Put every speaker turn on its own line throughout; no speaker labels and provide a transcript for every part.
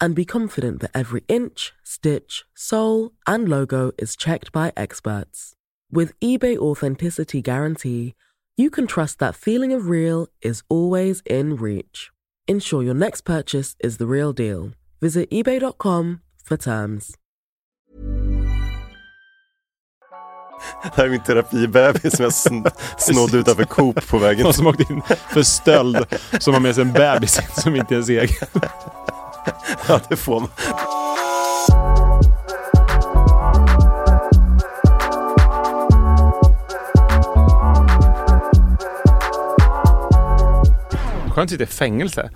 and be confident that every inch, stitch, sole, and logo is checked by experts. With eBay Authenticity Guarantee, you can trust that feeling of real is always in reach. Ensure your next purchase is the real deal. Visit eBay.com for terms.
Det här är min terapibebis som jag sn snodde utanför Coop på vägen.
Någon som åkte in för stöld som har med sig en bebis in som inte är ens egen.
Ja, det får man.
Skönt att sitta i fängelse.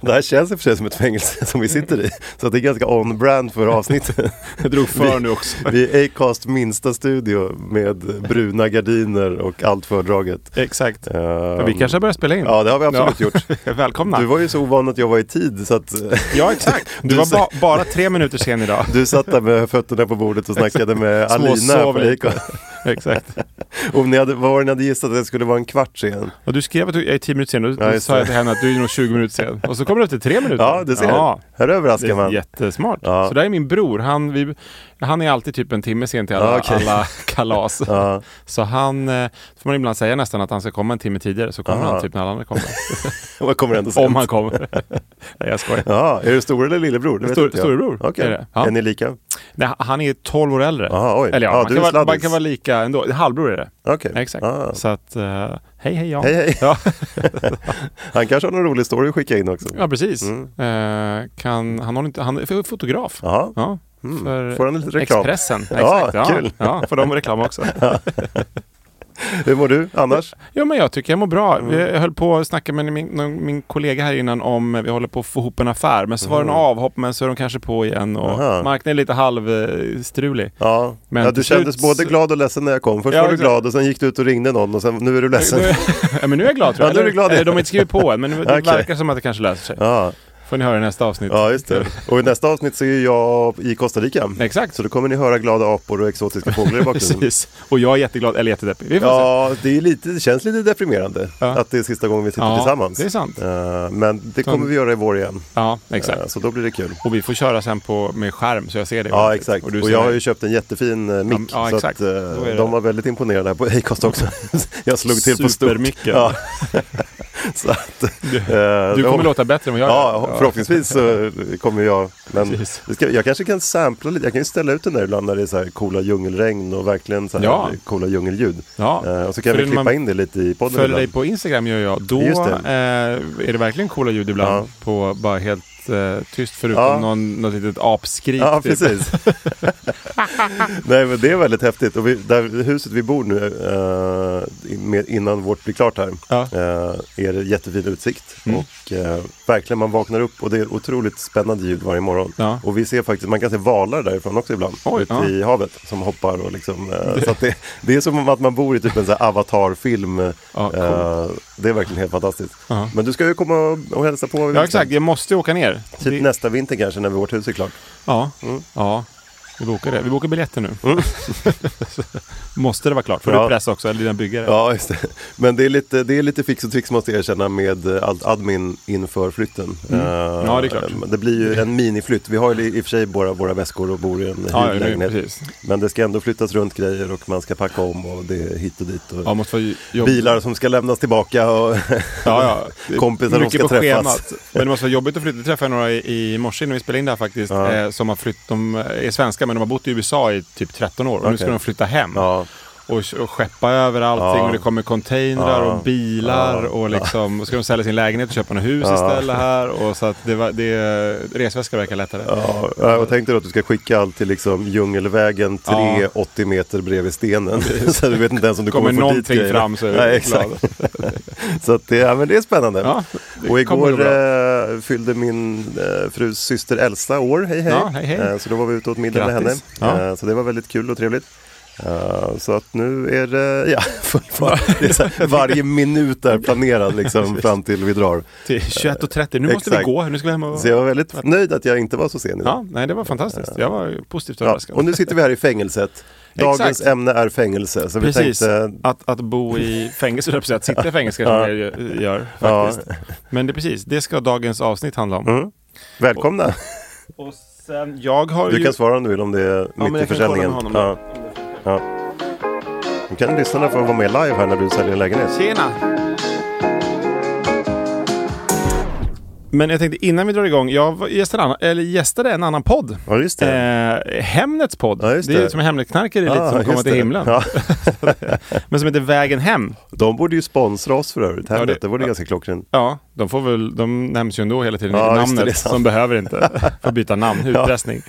Det här känns i och för sig som ett fängelse som vi sitter i. Så att det är ganska on-brand för avsnittet.
Jag drog för nu också.
Vi är Acast minsta studio med bruna gardiner och allt fördraget.
Exakt.
Ehm,
Ja, vi kanske börjar spela in.
Ja, det har vi absolut
Ja.
gjort.
Välkomna.
Du var ju så ovan att jag var i tid så att
Ja, exakt. Du,
Du
var
sa-
ba bara tre minuter sen idag.
du satt där med fötterna på bordet och snackade med Alina.
Småsov
på
lite.
Acast.
Exakt.
Om ni hade, vad var det ni hade gissat att det skulle vara en kvart sen?
Och du skrev att du jag är tio minuter sen och
Ja,
då
just
sa jag
det.
till henne att du är nog 20 minuter sen. Och så kommer du efter tre minuter.
Ja, du ser.
Ja.
Här
Det
överraskar
är
man.
jättesmart.
Ja.
Så där är min bror. Han, vi, han är alltid typ en timme sen till alla,
Ja, okej.
alla kalas.
Ja.
Så han, eh, får man ibland säga nästan att han ska komma en timme tidigare, så kommer
Aha.
han typ när alla andra kommer.
Vad kommer ändå sent?
Om han kommer. Nej, jag skojar.
Ja, är du stor eller lillebror? Det vet
Stor,
inte jag.
storebror
Okej.
är det. Ja.
Är ni lika?
Nej, han är 12 år äldre.
Aha, oj.
Eller ja,
Ja, du
man, kan
är
vara, man
sladdis.
kan vara lika ändå. Halvbror är det.
Okej.
Exakt.
Ah.
Så att, eh, hej hej Jan.
Hej, hej.
Ja,
Han kanske har någon rolig story att skicka in också.
ja precis.
Mm.
Eh, kan, han, håller inte, han är fotograf.
Jaha.
Ja,
Mm.
för
Får han lite reklam?
Expressen.
Ja,
Exakt, ja.
kul.
Ja, får de reklam också.
Hur mår du annars?
Jo, men jag tycker jag mår bra.
Mm.
Vi- Jag höll på att snacka med min, någon- min kollega här innan om eh, vi håller på att få ihop en affär, men så var det en avhopp, men så är de kanske på igen och
Mm. Aha.
marknaden är lite halvstrulig.
Ja,
Men
ja du
till
kändes
slut-
både glad och ledsen när jag kom. Först
Ja,
var du
exakt.
glad och sen gick du ut och ringde någon och sen nu är du ledsen.
ja, men nu är jag glad tror jag.
Ja, nu är du glad, ja.
Eller, eh, de har inte skrivit på än, men det
Okej.
verkar som att det kanske löser sig.
Ja,
Får ni höra i nästa avsnitt.
ja, just det. Och i nästa avsnitt så är jag i Costa Rica.
Exakt.
Så då kommer ni höra glada apor och exotiska fåglar i bakgrunden.
Precis. Och jag är jätteglad, eller jättedeppig. Vi får se.
Ja, det, är lite, det känns lite deprimerande
Ja.
att det är sista gången vi sitter
Ja,
tillsammans.
det är sant.
Eh, Men det kommer vi göra i vår igen.
Ja, exakt.
Eh, Så då blir det kul.
Och vi får köra sen på, med skärm så jag ser dig.
Ja,
ordentligt.
exakt. Och,
typ. du ser
jag har
mig.
ju köpt en jättefin eh, mick.
Ja,
så
exakt.
att, eh,
Då är det-
de var väldigt imponerade här på Acast också. jag slog till på stort.
Supermicken.
Ja. så att, du,
Du kommer låta bättre än vad jag
Ja,
gör.
förhoppningsvis så kommer jag. Men
Precis.
det ska, jag kanske kan sampla lite. Jag kan ju ställa ut den där ibland när det är så här coola djungelregn och verkligen så här
Ja.
coola djungelljud.
Ja.
Eh, och så kan
För
vi
när
klippa
man
in det lite i podden
Följer
ibland.
dig på Instagram gör jag. Då
Just det.
Eh, är det verkligen coola ljud ibland. På bara helt eh, tyst förutom
Ja.
någon, något litet apskrik.
Ja,
typ.
precis. Nej, men det är väldigt häftigt. Och vi, där huset vi bor nu, eh, i- med, innan vårt blir klart här,
Ja.
eh, är det jättefin utsikt.
Mm.
Och eh, verkligen, man vaknar upp och det är otroligt spännande ljud varje morgon.
Ja.
Och vi ser faktiskt, man kan se valar därifrån också ibland,
Oj,
ute
ja.
i havet, som hoppar och liksom. Eh, Så att det, det är som att man bor i typ en sån här avatarfilm.
Ja, coolt.
Eh, det är verkligen helt fantastiskt.
Ja.
Men du ska ju komma och, och hälsa på.
Ja, exakt. Jag måste ju åka ner.
Typ
Det-
nästa vinter kanske, när vårt hus är klart.
Ja,
Mm.
ja. Vi bokar det. Vi bokar biljetter nu. Måste det vara klart? Får du
Ja.
pressa också, eller dina byggare?
Ja, just det. Men det är, lite, det är lite fix och trix måste jag erkänna med eh, allt admin inför flytten. Eh,
Mm. Ja, det är klart.
men Det blir ju en miniflytt. Vi har ju i och för sig bara våra väskor och bor i en
Ja, ja, det,
hyrlägenhet.
precis.
men det ska ändå flyttas runt grejer och man ska packa om och det är hit och dit. Och
Ja, måste vara jobb...
Bilar som ska lämnas tillbaka och
Ja, ja.
kompisar som
Mycket
ska
på
träffas.
schemat. Men det måste vara jobbigt att flytta. Jag träffade några i, i morse när vi spelade in det här faktiskt. Eh, som har flytt, de är svenska svenskar, men de har bott i USA i typ 13 år och nu ska
Okej.
de flytta hem.
Ja.
Och, och skeppa över allting
Ja.
och det kommer containrar
Ja.
och bilar och liksom, och ska de sälja sin lägenhet och köpa något hus istället här. Och så att det, var- det, resväskor verkar lättare.
Ja, ja, och tänk dig då att du ska skicka allt till liksom djungelvägen 3,
Ja.
80 meter bredvid stenen. så du vet inte ens om du
Kommer
kommer, få dit
någonting
grejerna.
fram så är du
Nej,
glad.
exakt. så att det, ja, men det är spännande.
Ja, det
och
kommer nog
igår
bra.
eh, fyllde min eh, frus syster Elsa år. Hej hej.
Ja, hej, hej.
Eh, så då var vi ute åt middag med henne.
Grattis. Ja.
Eh, så det var väldigt kul och trevligt. Eh, så att nu är det ja, full fart. Det är så här, varje minut är planerad liksom, fram till vi drar.
Till 21.30, nu måste vi
Exakt.
gå, nu ska vi hem och...
Så jag var väldigt nöjd att jag inte var så sen idag.
Ja, nej det var fantastiskt. Jag var positivt
Ja,
överraskad.
och nu sitter vi här i fängelset. Dagens
Exakt.
ämne är fängelse. Så vi
Precis,
tänkte, eh,
att, att bo i fängelse, höll jag på att säga, att sitta i fängelse kanske mer gör
Ja.
faktiskt. Men det är precis, det ska dagens avsnitt handla om.
mm, välkomna.
Och sen, jag har
Du
ju...
kan svara om du vill om det är
men
mitt i
jag kan kolla med
försäljningen.
honom då.
Ja. Ja. Nu kan lyssnarna få vara med live här när du säljer en lägenhet.
Tjena! Men jag tänkte innan vi drar igång, jag var- gästade, en annan- eller gästade en annan podd.
Ja, just det.
Eh, Hemnets podd.
Ja, just
det. är
det.
som Hemnetknarkare, lite
Ah,
som kommer
just
till
det.
himlen.
Ja.
Men som heter Vägen Hem.
De borde ju sponsra oss för övrigt.
Ja,
Här
det-
det var det ganska klockrent.
Ja, de får väl, de nämns ju ändå hela tiden
Ja,
i
just det, det är
namnet.
sant.
de behöver inte få byta namn, utpressning.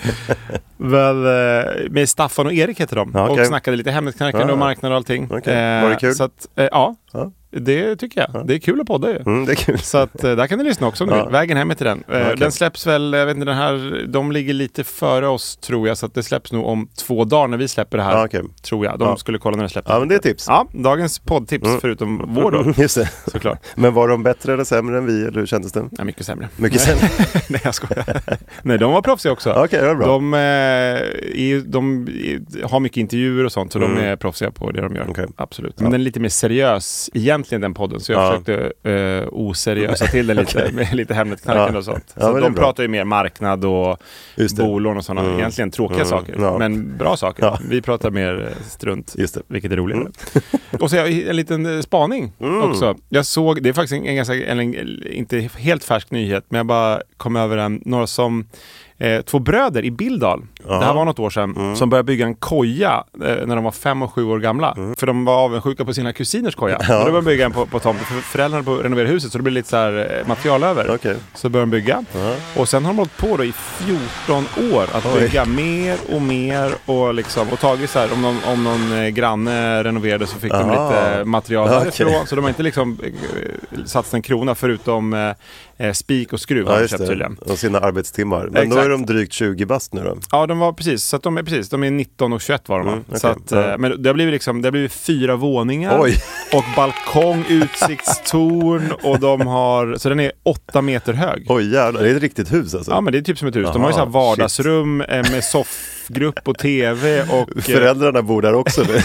Men, eh, med Staffan och Erik heter de
Ja, okej.
och snackade lite Hemnetknarkande
Ja.
och marknad och allting.
Okej. Var det kul?
Så att, eh, ja,
Ja.
det tycker jag. Det är kul att podda ju.
Mm, det är kul.
Så att eh, där kan du lyssna också om du
Ja.
vill. Vägen hem är till den. Eh,
okej.
Den släpps väl, jag vet inte, den här, de ligger lite före oss tror jag, så att det släpps nog om två dagar när vi släpper det här.
Ja, Ah, okej.
Tror jag. De
Ja.
skulle kolla när det släpps.
Ja, men det är Mm. tips.
Ja, dagens poddtips förutom vår då,
Just det.
såklart.
Men var de bättre eller sämre än vi, eller hur kändes det?
Ja, mycket sämre.
Mycket sämre.
Nej, jag skojar. Nej, de var proffsiga också.
Okej, det var bra.
De, eh, är, ju- de är- har mycket intervjuer och sånt, så de
Mm.
är proffsiga på det de gör.
Okej.
Absolut. Men den är lite mer seriös egentligen, den podden. Så jag
Ja.
försökte eh, oseriösa till den lite, med lite Hemnetknarkande
Ja.
och sånt.
Ja,
Så
men det är
de
bra.
pratar ju mer marknad och
Just det.
bolån och sådana
Mm.
egentligen tråkiga
Mm.
saker.
Ja.
Men bra saker.
Ja.
Vi pratar mer eh, strunt.
Just det. Mm.
Vilket är roligare. och så har jag en liten eh, spaning också. Jag såg, det är faktiskt en, en ganska, en, en, inte helt färsk nyhet, men jag bara kom över en, några som, eh, två bröder i Bildal, det här var något år sedan,
Mm.
som började bygga en koja eh, när de var fem och sju år gamla.
Mm.
För de var avundsjuka på sina kusiners koja. Och då började de bygga en på, på tomten, för föräldrarna på att renovera huset, så det blev lite så här eh, material över.
Okej.
Så började de bygga. Och sen har de hållit på då i 14 år att
Oj.
bygga mer och mer och, liksom, och tagit så här, om någon, om någon eh, granne renoverade så fick de
Aha.
lite eh, material
Okej.
därifrån. Så de har inte liksom eh, satsat en krona förutom eh, eh, spik och skruv har
Ja,
de
just
köpt
det.
tydligen.
Och sina arbetstimmar. Men då
Exakt.
är de drygt 20 bast nu då.
Ja, de var precis. Så att de är precis. De är 19 och 21 var de. va?
Mm, okej.
så att,
Ja.
eh, Men det har blivit liksom, det har blivit fyra våningar
Oj.
och balkong, utsiktstorn och de har, så den är åtta meter hög.
Oj jävlar, det är ett riktigt hus alltså.
Ja men det är typ som ett hus. De har ju så här
Aha,
vardagsrum eh, med soffgrupp och tv och
Föräldrarna bor där också nu.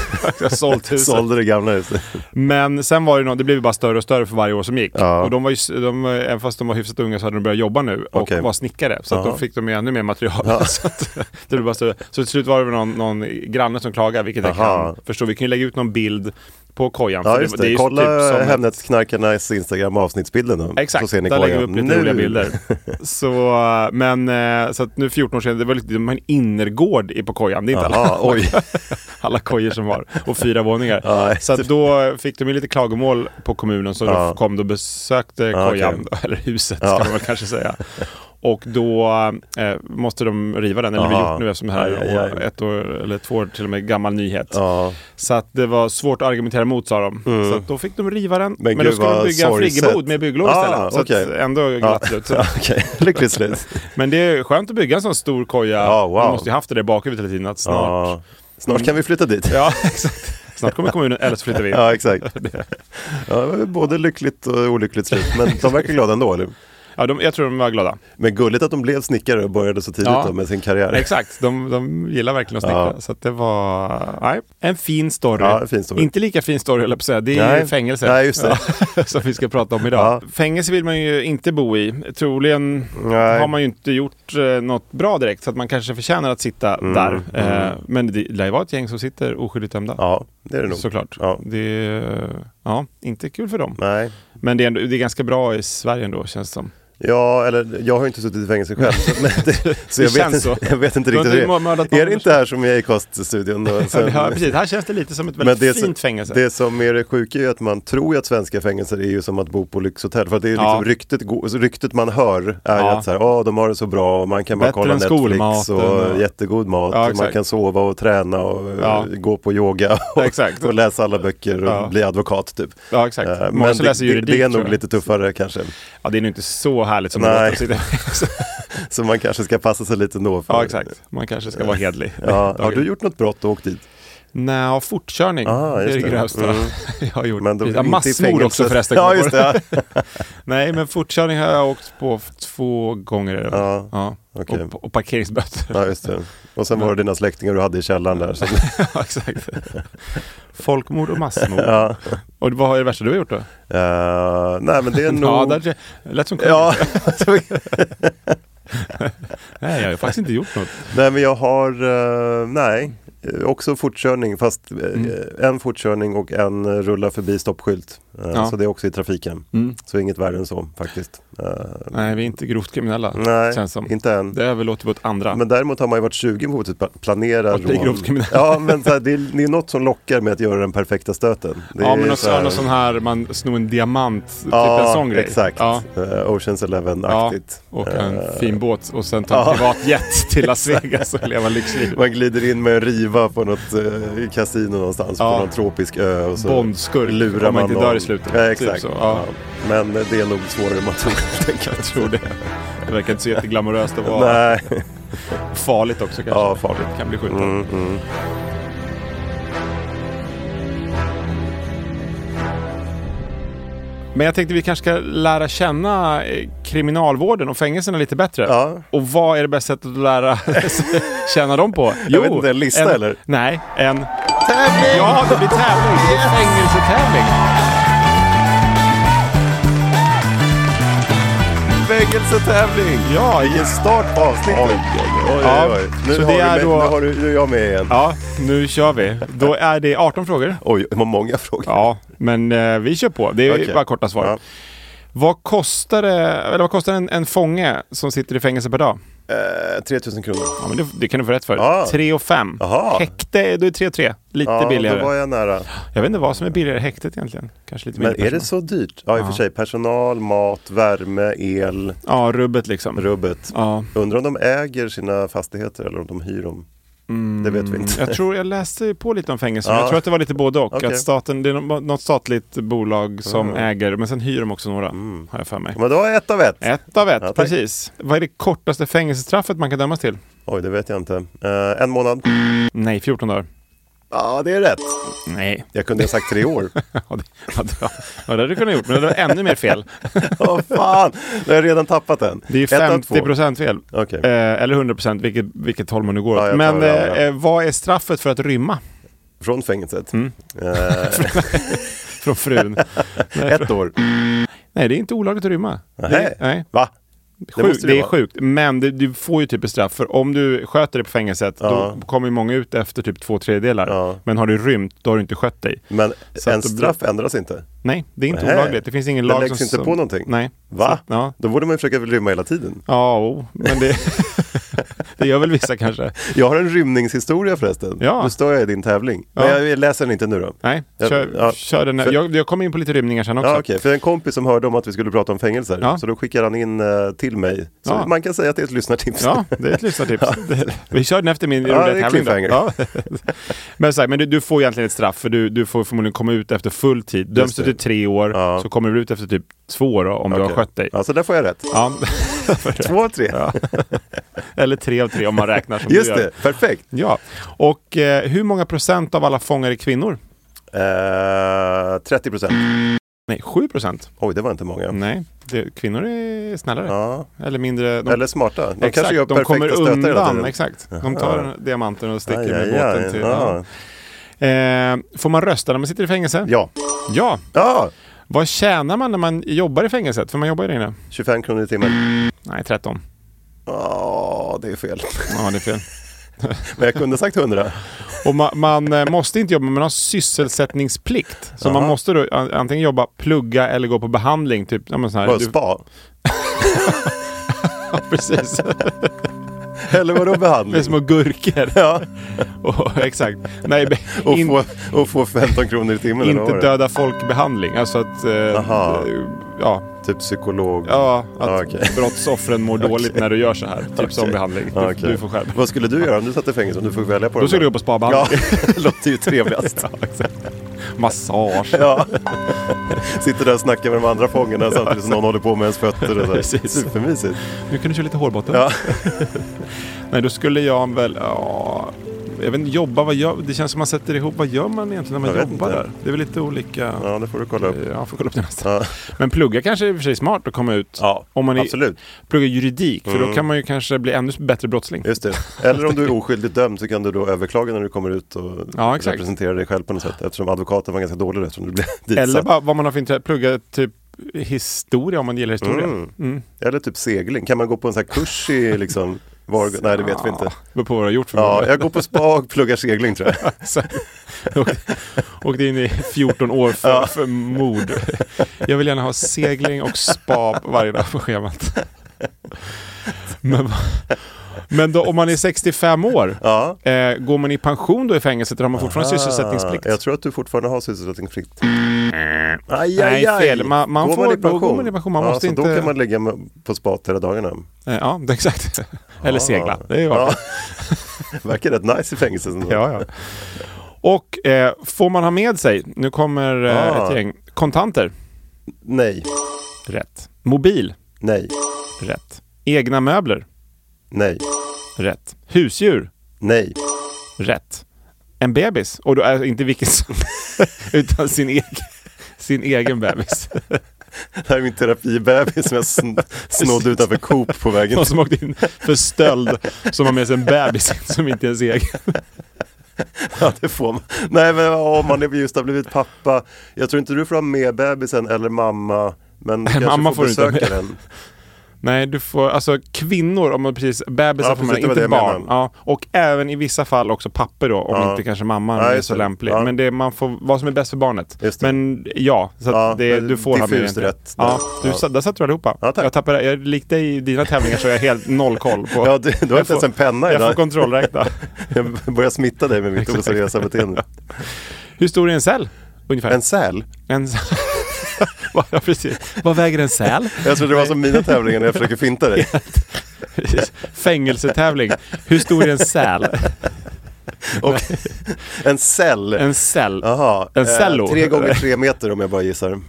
eh, sålt huset.
Sålde det gamla huset.
Men sen var det något, det blev ju bara större och större för varje år som gick.
Ja.
Och de var ju, s- de, eh, även fast de var hyfsat unga så hade de börjat jobba nu och
Okej.
var snickare. Så att
Aha.
då fick de ju ännu mer material. så, att, det blev bara större. så till slut var det väl någon, någon granne som klagade, vilket jag
Aha.
kan förstå. Vi kan ju lägga ut någon bild på kojan.
Ja
för
just
är
det,
ju typ
kolla
som ett-
Hemnetknarkarnas Instagram avsnittsbilden då.
Exakt,
Liksom, så ser ni
där lägger vi
kojan.
upp lite roliga bilder. Så, men, eh, så att nu 14 år sedan, det var lite, de har en innergård i- på kojan. Det är inte alla,
Jaha, oj.
alla kojor som var och fyra våningar.
Ja,
så att då fick de ju lite klagomål på kommunen så
Ja.
de kom och besökte
Ja,
kojan,
okej.
eller huset
Ja.
ska man väl kanske säga. Och då eh, måste de riva den, eller vi
Aha.
gjort nu eftersom det här
Aj, aj,
är
aj.
ett år eller två år till och med gammal nyhet.
Ja. Mm.
Så att det var svårt att argumentera emot sa de. Så att då fick de riva den. Men,
Men
då
gud,
ska de
vad
bygga en
sorgset.
friggebod med bygglov
Ah,
istället. Så att
okej. Ah.
ändå glatt slut. Så-
Ja, Okej, lyckligt slut.
Men det är skönt att bygga en sån stor koja.
Ja, Ah, wow. Ah.
Man måste ju haft det där i bakhuvudet hela tiden att snart...
Ja. Snart kan vi flytta dit.
Ja, exakt. Snart kommer kommunen, eller så flyttar vi in.
Ja, exakt. Ja, det var både lyckligt och olyckligt slut, men de verkar glada ändå. Eller?
Ja, de, jag tror de var glada.
Men gulligt att de blev snickare och började så tidigt
Ja.
då med sin karriär.
Exakt, de, de gillar verkligen att snickra.
Ja.
Så att det var nej, en fin story.
Ah. Ja, en fin story.
Inte lika fin story, höll jag på att säga. Det är ju
Nej.
fängelse.
Nej, just det.
Ja, som vi ska prata om idag.
Ja.
Fängelse vill man ju inte bo i. Troligen
Nej.
har man ju inte gjort eh, något bra direkt, så att man kanske förtjänar att sitta
Mm.
där. Eh, men det lär ju vara ett gäng som sitter oskyldigt dömda.
Ja, det är det nog.
Såklart.
Ja.
Det är, eh, ja, inte kul för dem.
Nej,
Men det är, ändå, det är ganska bra i Sverige ändå, känns det som.
Ja, eller jag har ju inte suttit i fängelse själv. Så, men det, så jag,
Det
vet,
känns
inte-
så.
jag vet inte
Du har
riktigt.
inte mördat
hur det är. är
någon
det inte här som i Acast-studion? och sen-
Ja, precis. Här känns det lite som ett
Men
väldigt
det,
fint
som-
fängelse.
det som är det sjuka är ju att man tror ju att svenska fängelser är ju som att bo på lyxhotell. För att det är liksom
Ja.
ryktet, go- alltså ryktet man hör är ju
Ja.
att så här, "Åh, de har det så bra och man kan bara
Bättre
kolla
än
Netflix
skolmaten
och,
och-
jättegod mat.
Ja,
och man
exakt.
kan sova och träna och eh,
Ja.
gå på yoga och,
Exakt.
och läsa alla böcker och
Ja.
bli advokat typ.
Ja, exakt.
Eh,
Många
Men
som
det,
läser
det,
juridik,
det är
tror
nog
jag.
lite tuffare kanske.
Ja, det är nog inte så härligt som
Nej.
det låter att sitta i fängelse.
Så man kanske ska passa sig lite då. För,
Ja, exakt. Man kanske ska vara hedlig.
Ja, har du gjort något brott och åkt dit?
Nej, fortkörning.
Ah,
det
just
är det
det.
grövsta
Mm.
jag har gjort.
Men då,
ja,
inte i
massmord
fängelse.
också förresten.
Ja, just det. Ja.
Nej, men fortkörning har jag åkt på f- två gånger. eller?
Ja,
Ja.
Ah, okej.
Och, och parkeringsböter.
Ja, just det. Och sen var det dina släktingar du hade i källaren där. som-
Ja, exakt. Folkmord och massmord.
ja.
Och vad är det värsta du har gjort då?
Eh, nej, men det är nog...
Ja, där, lät som kungen.
Ja.
Nej, jag har faktiskt inte gjort något.
nej, men jag har... eh, nej, Eh, också fortkörning. Fast eh,
Mm.
en fortkörning och en eh, rulla förbi stoppskylt. Eh,
Ja.
Så det är också i trafiken.
Mm.
Så inget värre än så faktiskt. Eh,
Nej, vi är inte grovt kriminella.
nej,
Känns som.
inte än.
Det överlåter vi åt andra.
Men däremot har man ju varit 20 på att typ planera
Att bli
rån.
grovt kriminell.
Ja, men så här, det, är, det är något som lockar med att göra den perfekta stöten. Det
ja,
är
men
så här-
också någon sån här, man snor en diamant, typ en sån grej.
exakt.
Ja,
Eh, Oceans Eleven-aktigt.
och en
Eh,
fin båt och sen ta en
ja.
privat jet till Las Vegas och leva lyxliv.
Man glider in med en riva på något eh, kasino någonstans
Ja.
på någon tropisk ö och så
Bondskurk,
lurar
om man inte
någon.
dör i slutet.
Ja, exakt.
Typ så,
ja.
ja.
Men eh, det är nog svårare än man tror. tänker jag.
Jag tror det. Det verkar inte så jätteglamoröst att vara
Nej,
farligt också kanske.
ja farligt.
Kan bli skjuten.
Mm, mm.
Men jag tänkte vi kanske ska lära känna eh, kriminalvården och fängelserna lite bättre.
Ja.
Och vad är det bästa sättet att lära känna dem på? Jo,
vet inte, en lista, eller?
Nej, en... Tävling! Ja, det blir tävling. Det är fängelsetävling.
Fängelsetävling!
Ja,
Vilken start på avsnittet! Oj, oj, oj.
Ja,
oj. Nu, har
så
du
det är
med,
då-
nu har du, nu är jag med igen.
ja, nu kör vi. Då är det 18 frågor.
Oj, vad många frågor.
Ja, men eh, vi kör på. Det är
Okej.
bara korta svar.
Ja.
Vad kostar, det, eller vad kostar en, en fånge som sitter i fängelse per dag?
Eh, 3000 kronor.
Ja, men det, det kan du få rätt
Ja.
för. 3 och 5.
Jaha.
Häkte, då är 3 och 3. Lite
Ja,
billigare.
då var jag nära.
Jag vet inte vad som är billigare i häktet egentligen. Kanske lite
Men
mindre
är det
personal.
så dyrt? Ja, i och för sig. Personal, mat, värme, el,
Ja, rubbet liksom.
rubbet.
Ja.
Undrar om de äger sina fastigheter eller om de hyr dem.
Mm.
Det vet vi inte.
Jag tror jag läste ju på lite om fängelser.
Ja.
Jag tror att det var lite både och.
Okej. Mm.
Att staten, det är nå- något statligt bolag som äger, men sen hyr de också några. Har jag för mig.
Men då har jag ett av ett.
Ett av ett,
Ja, tack.
precis. Vad är det kortaste fängelsestraffet man kan dömas till?
Oj, det vet jag inte. Eh, en månad.
Nej, 14 dagar.
Ja, det är rätt.
Nej.
Jag kunde ha sagt tre år.
Ja, det, ja, det, ja, det hade du kunnat gjort, men det var ännu mer fel.
Vad fan, nu har jag redan tappat den.
Det är ju
Ett av två.
50 procent fel.
Okej.
Eh, eller 100 procent, vilket, vilket håll man nu går åt.
Ja, jag tar
men
det, ja, ja.
eh, vad är straffet för att rymma
Från fängelset.
Mm.
Eh,
från frun?
ett år.
Nej, det är inte olagligt att rymma.
Nej.
Det, nej.
Va?
Det,
måste
sjukt,
det
det är
vara.
sjukt, men det, du får ju typ ett straff. För om du sköter dig på fängelset,
Ja.
då kommer ju många ut efter typ två tredjedelar.
Ja.
Men har du rymt, då har du inte skött dig.
Men
Så att
en
då blir-
straff ändras inte?
Nej, det är inte
Nej.
olagligt. Det finns ingen
Det
lag
läggs inte
som...
på någonting?
Nej.
Va?
Så, ja.
Då borde man ju försöka rymma hela tiden.
Ja, jo, men det, det gör väl vissa kanske.
Jag har en rymningshistoria förresten.
Ja.
Nu står jag i din tävling.
Ja.
Men jag- jag läser den inte nu då.
Nej,
Jag-
kör,
ja.
kör den.
För-
Här. Jag, jag kommer in på lite rymningar sen också.
Ja, okej. För en kompis som hörde om att vi skulle prata om fängelser,
Ja.
så då skickade han in eh, till mig. Så
Ja.
man kan säga att det är ett lyssnartips.
Ja, det är ett lyssnartips. Det- Vi kör den efter min
Ja, det är
roliga tävling. då.
cliffhanger.
Ja. Men, så här, men du, du får egentligen ett straff för du, du får förmodligen komma ut efter full tid. Döms du
det.
till tre år
Ja.
så kommer du ut efter typ två år då, om du har
Okej.
skött dig.
Ja, så Alltså, där får jag rätt.
Ja.
Två av tre.
Eller tre av tre om man räknar som
Just
du gör.
det, perfekt.
Ja. Och eh, hur många procent av alla fångar är kvinnor?
Eh, 30 procent.
Nej, sju procent.
Oj, det var inte många.
Nej, det, kvinnor är snällare.
Ja.
Eller mindre... De,
Eller smarta. De
exakt,
kanske gör
de
perfekta
kommer
stötar hela
undan.
tiden.
Exakt. De tar
Jaha.
diamanten och sticker
Aj,
med
aj,
båten.
aj.
Till,
ja.
Eh, får man rösta när man sitter i fängelse?
Ja.
Ja.
ja,
Vad tjänar man när man jobbar i fängelset? För man jobbar ju där inne.
25 kronor i timmen.
Nej, 13.
Ja, det är fel.
Ja, det är fel.
Men jag kunde sagt 100.
Och ma man eh, måste inte jobba, men man har sysselsättningsplikt. Så man måste då an- antingen jobba, plugga eller gå på behandling. Typ, ja, men sån här,
Vad,
du,
spa?
Ja, precis.
Eller vadå behandling?
Med små gurkor.
Ja.
Och, exakt. Nej, be-
Och,
in-
få, och få 15 kronor i timmen. eller vad
inte
var det?
döda folk-behandling. Alltså att... Eh,
Aha.
ja,
Typ psykolog.
ja, att
Ah, okej.
brottsoffren mår dåligt när du gör så här. Typ som
Okej.
behandling. Du,
Ja, okej.
du får själv.
Vad skulle du göra om du satt i fängelse? Om du får välja på
Då
de
skulle
där?
du gå på spabehandling.
Ja, låter ju trevligast.
Exakt. Massage.
Ja. Sitter där och snackar med de andra fångarna samtidigt som någon håller på med ens fötter. Och så här.
Precis.
Supermysigt.
Nu kan du köra lite hårbotten.
Ja.
Nej, då skulle jag väl... Ja, jag vet inte, jobba, vad gör, det känns som man sätter ihop, vad gör man egentligen när man
Jag vet
jobbar
inte.
där? Det är väl lite olika... Ja.
ja, det får du kolla upp.
Jag får kolla upp det nästa.
Ja.
Men plugga kanske är i och för sig smart att komma ut.
Ja, Mm.
om man är,
absolut.
pluggar juridik, för då kan man ju kanske bli ännu bättre brottsling.
Just det. Eller om du är oskyldigt dömd så kan du då överklaga när du kommer ut och
Ja, exakt.
representera dig själv på något sätt. Eftersom advokaten var ganska dålig då, eftersom du blev ditsatt.
Eller bara vad man har för intresse, plugga typ historia om man gillar historia.
Mm. Eller typ segling. Kan man gå på en sån här kurs i liksom... Var... Nej, det vet vi inte.
Ah, Beror på vad du har gjort för
Ja,
ja,
jag går på spa och pluggar segling tror jag.
Åkte in i 14 år för,
Ja.
för mord. Jag vill gärna ha segling och spa på varje dag på schemat. Men, vad- men då, om man är 65 år,
Ja.
eh, går man i pension då i fängelset eller har man fortfarande sysselsättningsplikt? Eh,
Ah, Jag tror att du fortfarande har sysselsättningsplikt. Aj,
Nej, fel. Man- man
går
får-
man i
då
pension.
går man i pension. Man
ja,
måste
så Då
inte-
kan man ligga med, på spat hela dagarna.
Eh, Ja, exakt. Eller
Ah.
segla. Det är ju
Ja. Verkar rätt nice i fängelset. ändå.
Ja, ja. Och eh, får man ha med sig, nu kommer eh,
Ah.
ett gäng, kontanter.
Nej,
Rätt. Mobil.
nej,
Rätt. Egna möbler.
nej,
Rätt. Husdjur.
nej.
Rätt. En bebis. Och då är inte vilken som, utan sin egen, sin egen bebis.
Det här är min terapibebis som jag sn- snodde utanför Coop på vägen.
Någon som åkte in för stöld som har med sig en bebis som inte är ens egen.
Ja, det får man. Nej, men om man är- just har blivit pappa. Jag tror inte du får ha med bebisen eller mamma. Men du kanske
mamma
får
får du inte ha
besöka
med.
den.
Nej, du får, alltså kvinnor, om man precis, bebisar
Ja,
får man
precis, det var
inte
det jag
barn.
menade.
Ja, och även i vissa fall också papper då, om
Ja.
inte kanske mamman
Ja,
är
just
så
det.
lämplig.
Ja.
Men det, man får, vad som är bäst för barnet.
Just det.
Men ja, så att
Ja,
det,
men
du får ha med
diffust
egentligen.
rätt där.
Ja, du,
Ja.
sa- Där satt du allihopa.
Ja, tack.
jag tappade, jag, likt dig i dina tävlingar så är jag helt noll koll på.
Ja, du, du har
Jag
inte ens
får-
en penna
jag får
idag.
kontrollräkna.
Jag börjar smitta dig med mitt oseriösa beteende.
Hur stor är en säl? Ungefär.
En säl?
En säl. ja, precis. Vad väger en säl?
Jag trodde det var som mina tävlingar när jag försöker finta dig.
Precis. Fängelsetävling. Hur stor är en säl?
Och en cell.
En säl.
Jaha.
en
eh,
cello.
Tre gånger tre meter om jag bara gissar.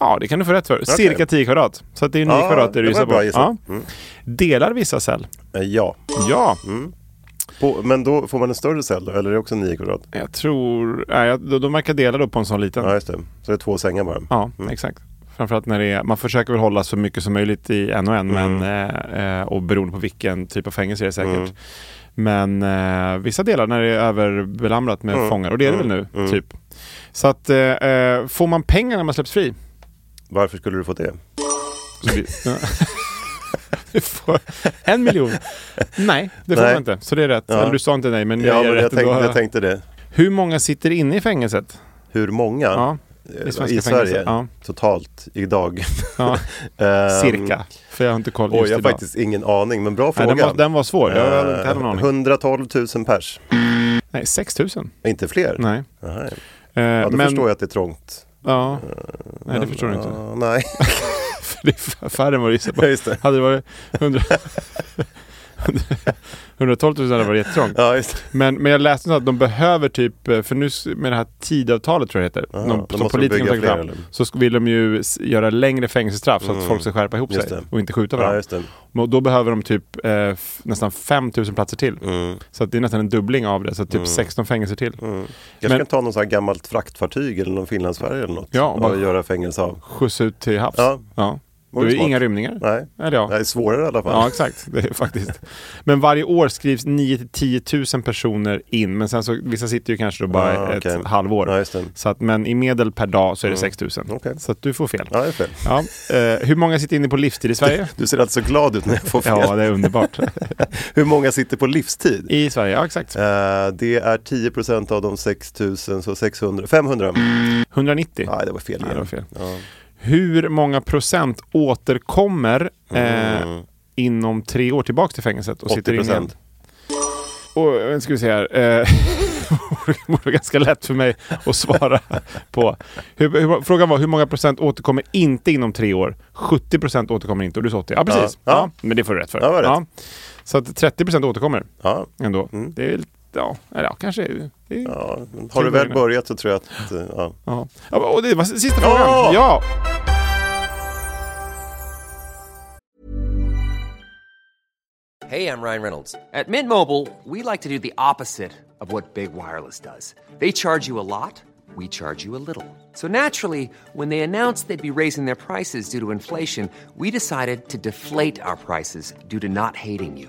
Ja, det kan du få rätt för. Cirka 10 kvadrat. Så att det är 9
Ja,
kvadrat
det
det du
var
gissar
bra
på.
gissat. Mm.
Delar vissa cell?
Eh, Ja.
Ja,
På, men då får man en större cell då, eller är det också nio kvadrat?
jag tror... Nej, jag- de, de verkar dela då på en sån liten.
Ja,
Ja,
just det. Så det är två sängar bara.
exakt. Framförallt när det är... Man försöker väl hålla så mycket som möjligt i en och en.
Mm.
Men, eh, eh, och beroende på vilken typ av fängelse det är säkert.
Mm.
Men eh, vissa delar när det är överbelamrat med fångar. Och det är det
Mm.
väl nu, typ. Så att eh, eh, får man pengar när man släpps fri?
Varför skulle du få det?
Så det- ja. Du får en miljon. Nej, det får
Nej.
man inte. Så det är rätt.
Ja.
Eller du sa inte nej, men jag
Ja,
ger
men jag
rätt
tänkte,
ändå.
jag tänkte det.
Hur många sitter inne i fängelset?
Hur många
Ja,
eh,
i svenska
i Sverige
fängelser. Ja.
totalt idag?
ja.
Ehm,
Cirka. För jag har inte koll
Oj,
just
jag har
idag.
faktiskt ingen aning, men bra
nej,
fråga.
den, var, den var svår. Jag hade inte heller någon
Eh,
aning.
112 000 pers.
Nej, 6 000.
Inte fler?
Nej.
Nej.
Eh,
Ja, då
men,
förstår jag att det är trångt. Ehm,
Ja. Nej, det förstår du inte.
Ja, nej,
För det är färre än vad du gissade
ja,
på.
just det.
Hade det varit 100... 112 000 hade det varit jättetrångt.
Ja, just det.
Men, men jag läste något att de behöver typ, eh, för nu s- med det här tidavtalet tror jag det heter,
Aha,
de,
då
som
måste de bygga
politikerna tagit
fler,
fram,
eller?
så sk- vill de ju s- göra längre fängelsestraff så att folk ska skärpa ihop
Just
sig
det.
och inte skjuta
Ja,
varandra.
just det.
Men då behöver de typ eh, f- nästan 5000 platser till. Så att det är nästan en dubbling av det, så typ 16 fängelser till.
Kanske
Men-
kan ta någon sån här gammalt fraktfartyg eller någon Finlandsfärja eller något
Ja,
och
bara-
göra fängelse av.
Skjuts ut till havs.
Ja.
Då
Vore
är det
smart.
inga rymningar.
Nej,
Eller ja.
det är svårare i alla fall.
Ja, exakt. Det är faktiskt. Men varje år skrivs 9 till 10 000 personer in, men sen så, vissa sitter ju kanske då bara
Ah, okej.
ett halvår.
Ja, just det.
Så att, men i medel per dag så är det 6 000.
Okej.
Så att du får fel.
Ja, det är fel.
Ja. Eh, hur många sitter inne på livstid i Sverige?
Du ser alltså glad ut när jag får fel.
ja, det är underbart.
Hur många sitter på livstid?
I Sverige, ja exakt.
Eh, det är 10 procent av de 6 000, så 600, 500.
190.
Nej, det var fel.
Nej, det
igen.
var fel.
Ja.
Hur många procent återkommer eh,
Mm.
inom tre år tillbaka till fängelset och sitter
80
inne?
Mm. procent.
Och eh, ska vi se här. Eh, det vore ganska lätt för mig att svara på. Hur, hur, frågan var hur många procent återkommer inte inom tre år? 70 procent återkommer inte och du sa 80. Ja, precis.
Ja.
Ja. men det får du rätt för.
Ja, det var rätt.
Så att 30 procent återkommer
Ja.
ändå.
Mm.
Det är lite, ja, eller ja, kanske. Det är, ja.
Ja, men har du väl börjat så tror jag att... eh, Ja.
Ja. och det var sista
Ja!
frågan. Ja!
Hey, I'm Ryan Reynolds. At Mint Mobile, we like to do the opposite of what Big Wireless does. They charge you a lot, we charge you a little. So naturally, when they announced they'd be raising their prices due to inflation, we decided to deflate our prices due to not hating you.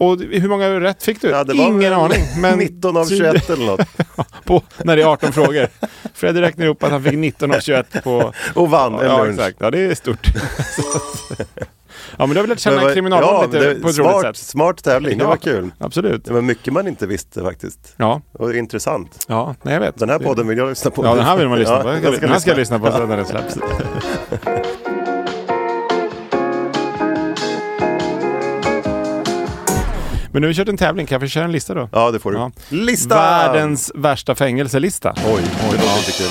Och hur många rätt fick du?
Ja, det var
Ingen
väl
aning. Men
19 av 21 eller något.
på, när det är 18 frågor. Fredrik räknar ihop att han fick 19 av 21 på...
Och vann en
ja,
lunch.
exakt. Ja, det är stort. ja, men du har
Men
väl lärt
vad-
känna kriminalvården
ja,
lite
det-
på ett roligt
smart,
sätt?
smart tävling, det
Ja.
var kul.
Absolut.
Det var mycket man inte visste faktiskt.
Ja,
Och intressant.
ja nej, jag vet.
Den här
Det-
podden vill jag lyssna på.
Ja, den här vill man lyssna på.
Ja,
Den ska, jag lyssna på sen när den släpps. Men nu har vi kört en tävling, kan jag få köra en lista då?
Ja, det får du.
Ja.
Lista!
Världens värsta fängelselista.
Oj, det låter inte kul.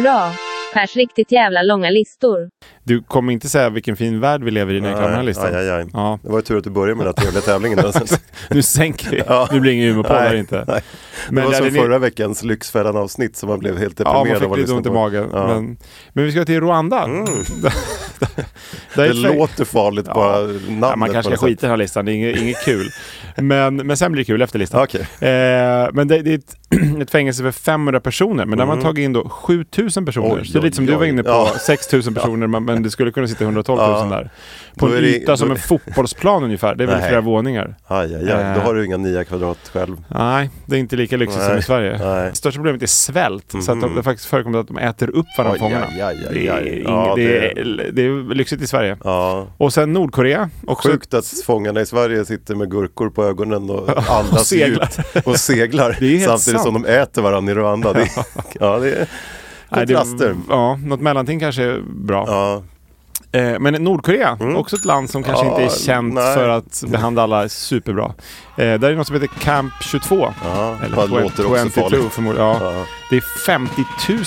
Hurra! Pers riktigt jävla långa listor.
Du kommer inte säga vilken fin värld vi lever i när jag klarar den här
Nej,
listan.
Aj, aj, aj.
Ja.
Det var ju tur att du började med den här trevliga tävlingen. Alltså.
Nu sänker vi.
Ja.
Nu blir det ingen humorpodd här
Nej,
inte.
nej.
Men
det var
där
som
är ni-
förra veckans Lyxfällan-avsnitt som man blev helt
Ja,
deprimerad
man
av
fick
att
lite
lyssna
ont i
på.
magen.
Ja.
Men, men vi ska till Rwanda. Där- där är
det
ett fäng-
låter farligt,
Ja.
bara namnet.
Ja, man kanske
på
ska
något
skita i den här listan, det är inget, inget kul. Men, men sen blir det kul efter listan.
Okej.
Eh, men det, det är ett, ett fängelse för 500 personer, men där har man tagit in då 7000 personer.
Mm. Oj,
så det är lite som
oj,
du var inne på,
oj. Ja.
6000 personer, men, men det skulle kunna sitta 112 000
Ja.
där. På
Då
en
är det-
yta som
då-
en fotbollsplan ungefär, det är väl
Nej.
flera våningar.
sätt. Aj, aj, aj. Då
Eh.
har du inga nia kvadrat själv.
Nej, det är inte lika lyxigt som
Nej,
i Sverige.
nej. Mm.
Största problemet är svält, så att de, det faktiskt förekommer att de äter upp varandra,
Oj,
fångarna.
aj, aj, aj,
Det är
aj.
ing-
Ja,
det
det-
är- det är lyxigt i Sverige.
Ja.
Och sen Nordkorea, också ett
Sjukt att fångarna i Sverige sitter med gurkor på ögonen och andas
seglar.
djupt och seglar
Det är helt
samtidigt
sant.
som de äter varandra i Rwanda. Det, är- ja, det är
Nej, det-
kontraster.
Ja, något mellanting kanske är bra.
ja,
Eh, men Nordkorea, också ett land som kanske
Mm. Ja,
inte är känt
nej.
för att behandla alla superbra. Eh, där är något som heter Camp 22.
ja. det låter också
22
farligt.
förmodligen. Ja.
Ja.
Det är 50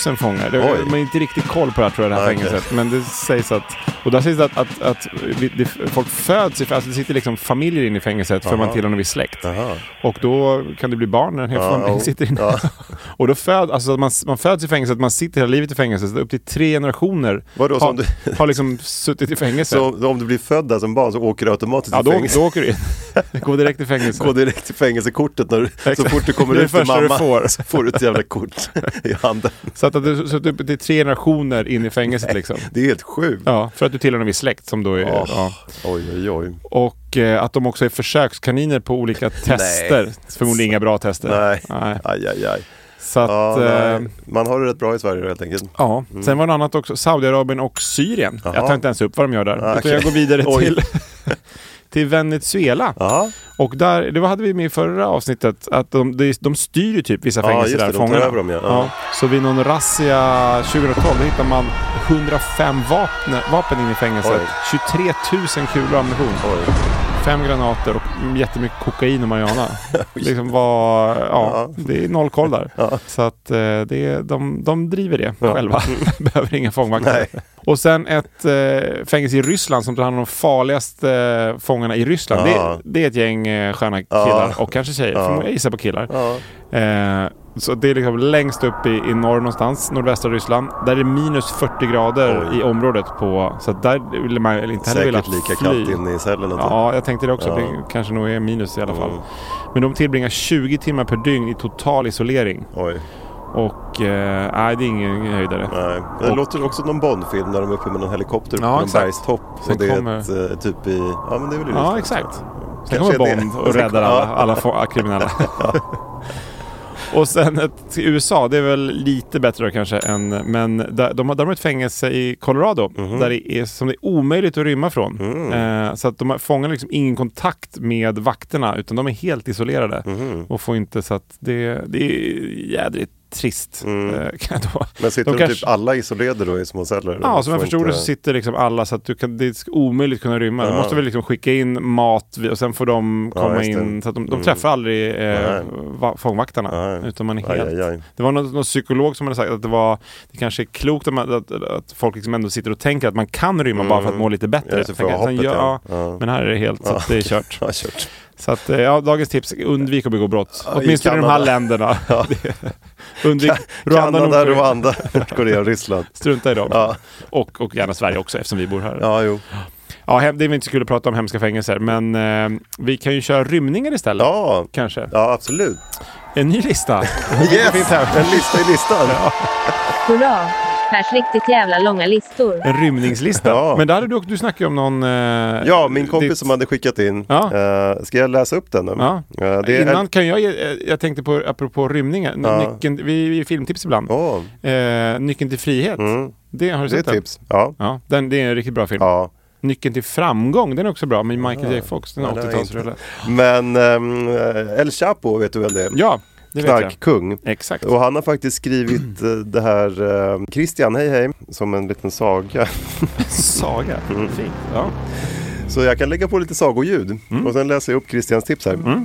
000 fångar. Det,
Oj.
man har inte riktigt koll på det här tror jag, det här
Nej, okej.
fängelset. Men det sägs att... Och där sägs det att, att, att vi, det, folk föds i... Alltså det sitter liksom familjer inne i fängelset för man tillhör en viss släkt.
Jaha.
Och då kan det bli barn när en hel
Ja,
familj
ja.
sitter inne.
Ja.
Och då föd, alltså man, man föds i fängelset, man sitter hela livet i fängelset. Så Upp till tre generationer
Vadå,
har,
som du-
har liksom suttit i fängelse.
Så om- om du blir född där som barn så åker du automatiskt
ja,
i
då,
fängelse.
då åker du in. Gå direkt i fängelse.
Gå direkt till fängelsekortet när du, så
Exakt.
fort du kommer
Det är
ut till
det första du
mamma
får.
så får du ett jävla kort i handen.
Så att, att du suttit upp till tre generationer in i fängelset liksom.
Det är helt sjukt.
Ja, för att du tillhör en viss släkt som då är...
Åh,
Ja.
Oj, oj, oj.
Och eh, att de också är försökskaniner på olika tester. Förmodligen inga bra tester.
Nej, aj, aj, aj.
Så att...
Ja,
eh,
nej. Man har det rätt bra i Sverige då, helt enkelt.
Ja, sen var det annat också. Saudiarabien och Syrien.
Jaha.
Jag tar inte ens upp vad de gör där.
Ah,
Utan
okej.
jag går vidare
Oj.
till, till Venezuela.
Ja,
Och där, det hade vi med i förra avsnittet, att de, de, de styr ju typ vissa
Ja,
fängelser
just det,
där,
de tar
fångarna.
över dem, ja. Ja.
Så vid någon razzia 2012 då hittar man 105 vapen, vapen in i fängelset. 23 000 kulor och ammunition.
Oj.
Fem granater och jättemycket kokain och marijuana. liksom var, ja, Det är noll koll där. Så att eh, det, är- de, de driver det själva. Behöver inga fångvakter. Och sen ett eh, fängelse i Ryssland som tar hand om de farligaste eh, fångarna i Ryssland.
Ja.
Det, det är ett gäng eh, sköna killar och kanske tjejer. Förmodligen- Jag gissar på killar. Eh, Så det är liksom längst upp i, i norr någonstans, nordvästra Ryssland. Där är det minus 40 grader
Oj.
i området på... Så att där vill man eller inte heller vilja
Säkert lika
fly.
kallt inne i cellerna. typ.
Ja, jag tänkte det också.
Ja. Mm.
Det kanske nog är minus i alla fall. Men de tillbringar 20 timmar per dygn i total isolering.
typ. Oj,
Och eh, nej, det är ingen höjdare.
nej. Det
Och-
låter också som någon Bond-film när de är uppe med någon helikopter
Ja,
på en
exakt.
bergstopp.
Sen
Och det är
kommer-
ett, eh, typ i... Ja, men det är väl i
Ja,
Ryssland.
exakt. Sen
Kanske
kommer
är det-
Bond och
Sen-
räddar
ja.
alla, alla få- kriminella. och sen ett, till USA, det är väl lite bättre då kanske än... Men där, de, har, de har ett fängelse i Colorado
Mhm.
där det är, som det är omöjligt att rymma från.
Mm.
Eh, så att de har- fångar liksom ingen kontakt med vakterna utan de är helt isolerade.
Mm. Mhm.
Och får inte så att det, det är jädrigt trist.
Mm.
eh, kan jag då.
Men sitter de,
kanske-
typ alla isolerade då i små celler?
Ja,
De
som jag
får
förstod
inte-
det så sitter liksom alla så att du kan, det är omöjligt att kunna rymma. De måste väl liksom skicka in mat vi- och sen får de
Ja,
komma
just det. Mm.
in. Så att de, de träffar aldrig eh,
Nej.
va- fångvaktarna.
Nej.
Utan man är
Aj,
helt...
aj, aj.
Det var någon, någon psykolog som hade sagt att det var det kanske är klokt att, man, att, att folk liksom ändå sitter och tänker att man kan rymma bara för att må lite bättre.
Mm. Ja, just det, för
Tänker att sen,
hoppet,
ja,
ja. Ja.
Men här är det helt så att det är kört.
Ja, kört.
Så att, eh, ja, dagens tips, undvik att begå brott.
Ja, i
Åtminstone i de här
Kanada.
länderna.
Ja.
undvik
Kanada,
Rwanda, Nordkorea.
Rwanda, Nordkorea och Ryssland.
Strunta i dem.
Ja.
Och, och gärna Sverige också eftersom vi bor här.
Ja, jo.
Ja, hem- det är väl inte så kul att prata om hemska fängelser, men eh, vi kan ju köra rymningar istället.
Ja,
Kanske.
ja absolut.
En ny lista.
Yes! En lista i listan.
Hurra! Pers riktigt jävla långa listor.
En rymningslista.
Ja.
Men där hade du, du snackade ju om någon... Eh,
Ja, min kompis
ditt-
som hade skickat in.
Ja.
Eh, ska jag läsa upp den? Då?
Ja.
Eh, det är
Innan
en-
kan jag ge, eh, jag tänkte på, apropå rymningar, n-
Ja.
nyckeln, vi vi ger filmtips ibland.
Åh,
Eh, nyckeln till frihet. Det har du
Mm. det är
sett
ett
den?
tips. Ja.
Ja, den, det är en riktigt bra film.
ja.
Nyckeln till framgång, den är också bra med Michael J Fox. Den är
Ja, det har jag
80-talsrulle.
Men ehm, El Chapo, vet du väl det?
Ja, det vet jag.
Knarkkung.
Exakt.
Och han har faktiskt skrivit eh, det här eh, Christian, hej hej, som en liten saga.
Saga.
Mm.
Fint. Ja.
Så jag kan lägga på lite sagoljud
Mm.
och sen läser jag upp Christians tips här.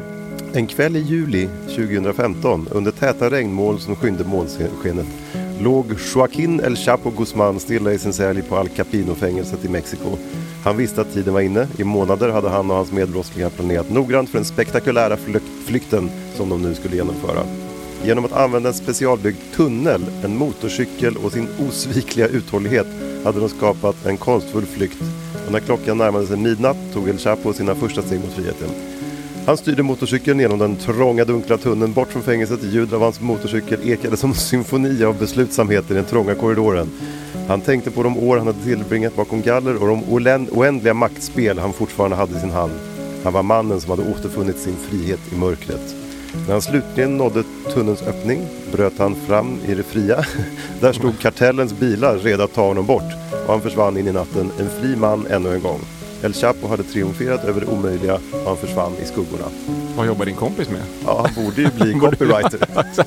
En kväll i juli 2015 under täta regnmoln som skymde månskenet låg Joaquin El Chapo Guzman stilla i sin sälj på Al Capino-fängelset i Mexiko. Han visste att tiden var inne. I månader hade han och hans medbrottslingar planerat noggrant för den spektakulära flyk- flykten som de nu skulle genomföra. Genom att använda en specialbyggd tunnel, en motorcykel och sin osvikliga uthållighet hade de skapat en konstfull flykt. Och när klockan närmade sig midnatt tog El Chapo sina första steg mot friheten. Han styrde motorcykeln genom den trånga dunkla tunneln bort från fängelset. Ljudet av hans motorcykel ekade som en symfoni av beslutsamhet i den trånga korridoren. Han tänkte på de år han hade tillbringat bakom galler och de olen- oändliga maktspel han fortfarande hade i sin hand. Han var mannen som hade återfunnit sin frihet i mörkret. När han slutligen nådde tunnelns öppning bröt han fram i det fria. Där stod kartellens bilar redo att ta honom bort och han försvann in i natten, en fri man ännu en gång. El Chapo hade triumferat över det omöjliga och han försvann i skuggorna.
Vad jobbar din kompis med?
Ja, han borde ju alltså. bli copywriter.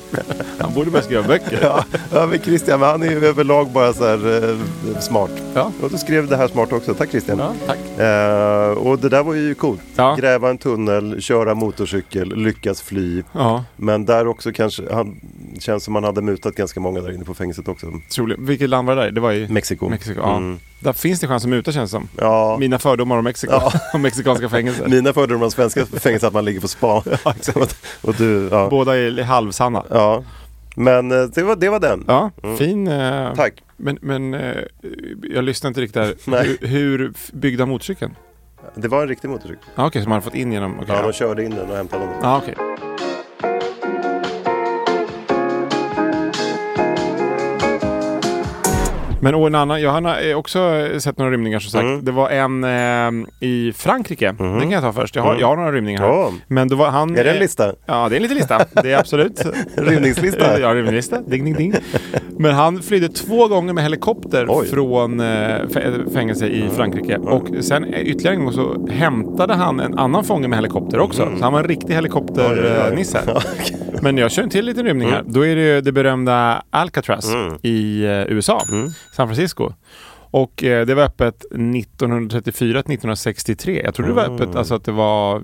Han borde börja skriva böcker.
Ja, ja, men Christian, men han är ju överlag bara så här eh, smart.
Ja.
Och du skrev det här smart också. Tack Christian.
Ja, tack.
Eh, och det där var ju coolt.
Ja.
Gräva en tunnel, köra motorcykel, lyckas fly.
Ja,
Men där också kanske, han känns som han hade mutat ganska många där inne på fängelset också.
troligen. Vilket land var det där? Det var i
Mexiko.
Mexiko ja.
Mm.
Där finns det chans att muta känns det som.
Ja.
Mina fördomar om Mexiko
Ja.
och mexikanska fängelser.
Mina fördomar om svenska fängelser är att man ligger på spa. och, och du, ja.
Båda är halvsanna.
ja. Men eh, det var, det var den.
Ja, fin. eh,
Tack.
Men, men eh, jag lyssnar inte riktigt där.
Nej.
Hur, hur f- byggde han motorcykeln?
Det var en riktig motorcykel.
Ja, Okej, som han fått in genom... okej,
Ja,
ja.
de körde in den och hämtade honom.
Ja, okej. Men och en annan, jag har eh, också eh, sett några rymningar som sagt.
Mm.
Det var en eh, i Frankrike. Den kan jag ta först. Jag har, jag har några rymningar här.
Mm. Ja.
Men då var han...
Är det en
eh,
lista?
Ja, det är en liten lista. Det är absolut.
Rymningslista?
ja, rymningslista. Ding, ding, ding. Men han flydde två gånger med helikopter
Oj.
från eh, fä- fängelse i Frankrike. Och sen eh, ytterligare en gång så hämtade han en annan fånge med helikopter också. Så han var en riktig
Mm. Oj, oj, Mm. oj.
helikopternisse. Men jag kör en till liten rymning här. Då är det ju det berömda Alcatraz
Mm.
i eh, USA, San Francisco. Och eh, det var öppet 1934 till 1963. Jag trodde det var öppet, alltså att det var
Mm.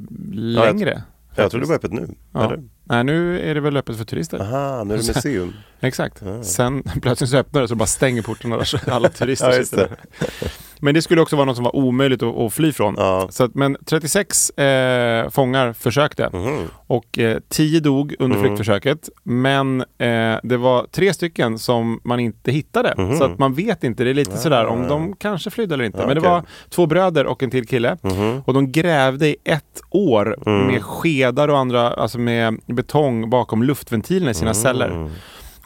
jag-
längre.
Jag tror det var öppet nu.
Ja.
Eller?
Nej, nu är det väl öppet för turister.
Aha, nu är det museum. Ah.
Exakt. Sen plötsligt så öppnar det så bara stänger portarna där så alla turister
Ja, just
sitter där. Men det skulle också vara något som var omöjligt att, att fly från.
Ja.
Så att, men 36 eh, fångar försökte
Mhm.
och eh, 10 dog under flyktförsöket. Men eh, det var tre stycken som man inte hittade.
Mhm.
Så att man vet inte, det är lite sådär om de kanske flydde eller inte. men det
Ah. okej. Mhm.
var två bröder och en till kille. Och de grävde i ett år
Mm.
med skedar och andra, alltså med betong bakom luftventilerna i sina
Mm.
celler.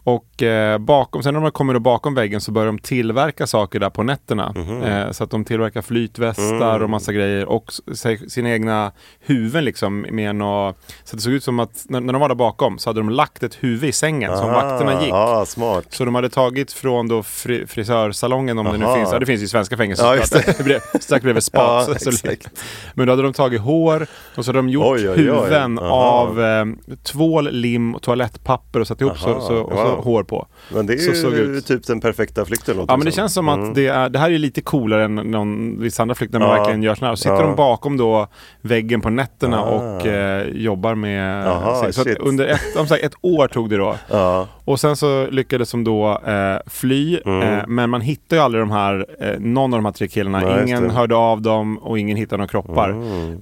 Och eh, bakom, sen när de kommer då bakom väggen så börjar de tillverka saker där på nätterna. Eh, så att de tillverkar flytvästar och massa grejer och s- sig- sina egna huvuden liksom. Med nå- så det såg ut som att när, när de var där bakom så hade de lagt ett huvud i sängen som vakterna gick.
Ah, Ja, smart.
Så de hade tagit från då fri, frisörsalongen, om det nu
Aha.
finns. Ja, det finns ju i svenska fängelser
Ja, just
såklart. Bre- Strax bredvid spa.
Ja,
så, så,
exakt.
men då hade de tagit hår och så hade de gjort
Oj, oj, oj.
huvuden
Aha.
av eh, tvål, lim och toalettpapper och satt ihop så,
Aha,
så, och så
wow.
hår på.
Men det är
så
ju liksom.
såg det ut.
typ den perfekta flykten låter
Ja men det
som.
känns som att det, är, det här är lite coolare än någon, vissa andra flykter när man
Ja.
verkligen gör sådana här. Och sitter
Ja.
de bakom då väggen på nätterna
Ah.
och eh, jobbar med...
Aha,
sig. så att
shit.
under ett, om så här, ett år tog det då.
Ja. Mm.
Och sen så lyckades de då eh, fly, eh, men man hittar ju aldrig de här, eh, någon av de här tre killarna.
Nej, just
ingen
det. Mm.
hörde av dem och ingen hittade några kroppar.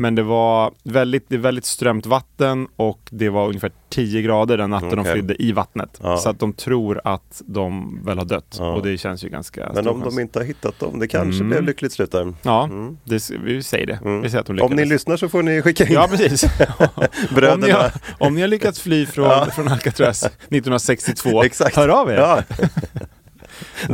Men det var väldigt, det är väldigt strömt vatten och det var ungefär 10 grader den natten de
Okej.
flydde i vattnet.
Ja.
Så att de tror att de väl har dött
Ja.
och det känns ju ganska
Men
stor
om
chans.
de inte har hittat dem, det kanske blev lyckligt slut där.
Mm. Ja, det, s- vi säger det. Vi säger att de lyckades.
Mm. Om ni lyssnar så får ni skicka in
Ja, precis. om, ni har,
bröderna.
om ni har lyckats fly från, från Alcatraz 1962,
Exakt.
hör av er.
Ja.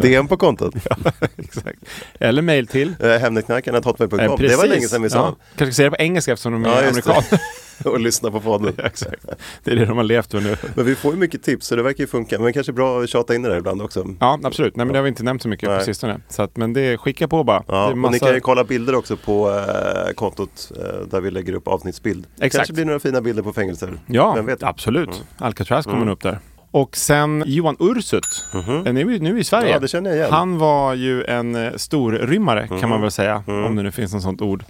DM på kontot.
Exakt. Eller mail till
Eh, Hemnetknarkarna.hotmail.com.
Eh,
det var
precis.
länge sedan vi sa.
Ja. Kanske säga det på engelska eftersom de är
Ja, just det.
amerikaner.
Och lyssna på podden.
Exakt. Det är det de har levt med nu.
Men vi får ju mycket tips så det verkar ju funka. Men kanske är bra att tjata in det där ibland också.
Ja, absolut. Nej, men det har vi inte nämnt så mycket på
Nej.
sistone. Så att, men det, skicka på bara.
Ja,
det är
Och ni
massa-
kan ju kolla bilder också på eh, kontot eh, där vi lägger upp avsnittsbild.
Exakt.
kanske blir några fina bilder på fängelser.
ja
Vem vet? Mm.
absolut. Alcatraz kommer upp där. Och sen Johan Ursut, mm nu, nu i Sverige.
Mhm. Ja, det känner jag igen. Mhm.
Han var ju en eh, storrymmare kan man väl säga,
Mm.
om det nu finns något sånt ord.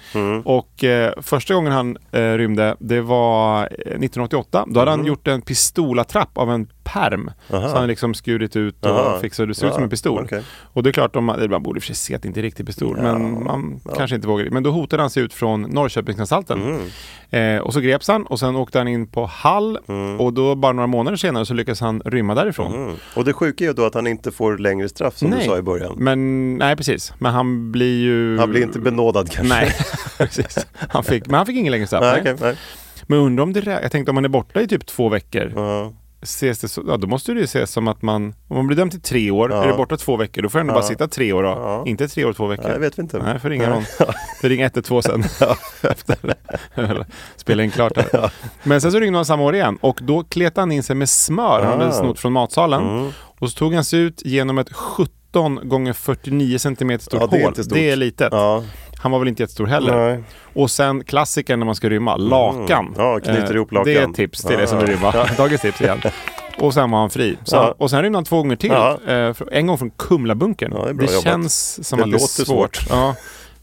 Och eh, första gången han eh, rymde, det var eh, 1988. Då
Mhm.
hade han gjort en pistolattrapp av en perm. Så han hade liksom skurit ut och
Aha.
fixat, det ser ut
Ja,
som en pistol.
okej.
Och det är klart, om man, eller man borde i och för sig se att det inte är riktig pistol, men man kanske inte vågar. Men då hotade han sig ut från Norrköpingsanstalten.
Mm.
Eh, och så greps han och sen åkte han in på Hall och då bara några månader senare så lyckades han rymma därifrån.
Mm. Och det sjuka är ju då att han inte får längre straff som du sa i början.
Men, nej, precis. Men han blir ju...
Han blir inte benådad kanske.
Mm. Nej, precis. Han fick, men han fick ingen längre straff.
Nej,
Nej.
okej, nej.
Men undrar om det rä- Jag tänkte om han är borta i typ två veckor.
Ja.
Ses det så, ja, då måste det ju ses som att man... Om man blir dömd till tre år, är det borta två veckor, då får han ändå bara sitta tre år då. Inte tre år, två veckor.
Nej, det vet vi inte.
Nej, får ringa någon. Får ringa 112 sen. Efter. Eller, Spela in klart här. Men sen så ringde han samma år igen och då kletade han in sig med smör han
Ah.
hade snott från matsalen.
Mm.
Och så tog han sig ut genom ett 17 gånger 49 centimeter stort
Ja, det är
hål.
inte stort.
Det är litet.
Ja.
Han var väl inte jättestor heller.
Nej. Mm.
Och sen klassikern när man ska rymma, lakan.
Ja, knyter ihop lakan.
Eh, Det är ett tips till dig som vill rymma. Dagens tips igen. Och sen var han fri. Så,
Ja.
Och sen rymde han två gånger till.
Ja.
Eh, för- en gång från Kumlabunkern.
Ja, det är bra jobbat.
känns som
Det
att det är
låter
svårt.
svårt.
Ja.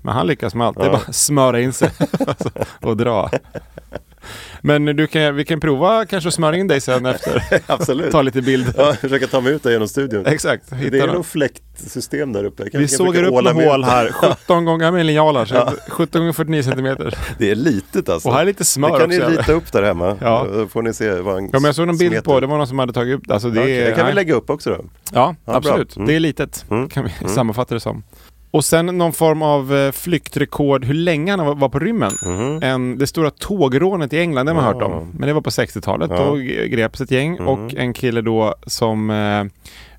Men han lyckas med allt. Det är bara att smöra in sig alltså, och dra. Men du kan, vi kan prova kanske att smöra in dig sen efter.
Absolut.
Ta lite bild.
Ja, försöka ta mig ut där genom studion.
Exakt.
Det
Hitta
är
någon.
något fläktsystem där uppe. Jag kan-
Vi
jag
sågar
brukar
upp
åla mig
några
ut.
hål här. 17 gånger med linjaler. så att- 17 gånger 49 centimeter.
Det är litet alltså.
Och här är lite smör
Det kan ni
också, eller?
rita upp där hemma.
Ja.
Då får ni se vad han
Ja, men jag såg någon bild
smetar.
på, det var någon som hade tagit upp alltså det.
Ja, okej.
är-
Det kan vi
nej.
lägga upp också då.
Ja,
Ja, bra.
absolut.
Mm.
Det är litet, kan vi sammanfatta det som. Och sen någon form av eh, flyktrekord hur länge han var- var på rymmen.
Mm.
En, det stora tågrånet i England, det har man hört om. Men det var på 60-talet. Då g- greps ett gäng och
Mm.
en kille då som eh,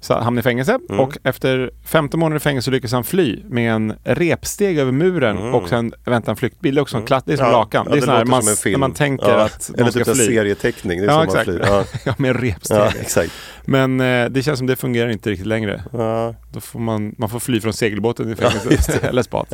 sa- hamnade i fängelse.
Mm.
Och efter 15 månader i fängelse lyckades han fly med en repsteg över muren och sen väntade en flyktbil. Det är också en klatt, det är som lakan.
Mm. ja,
det är sån här
låter
man,
som en film.
när man tänker
Ja.
att
Eller
de ska
typ en
fly.
serieteckning. Det är
Ja,
som
exakt.
man flyr. Ja.
Ja, med en repsteg.
ja, exakt.
Men eh, det känns som det fungerar inte riktigt längre.
Ja.
Då får man, man får fly från segelbåten i fängelset eller spat.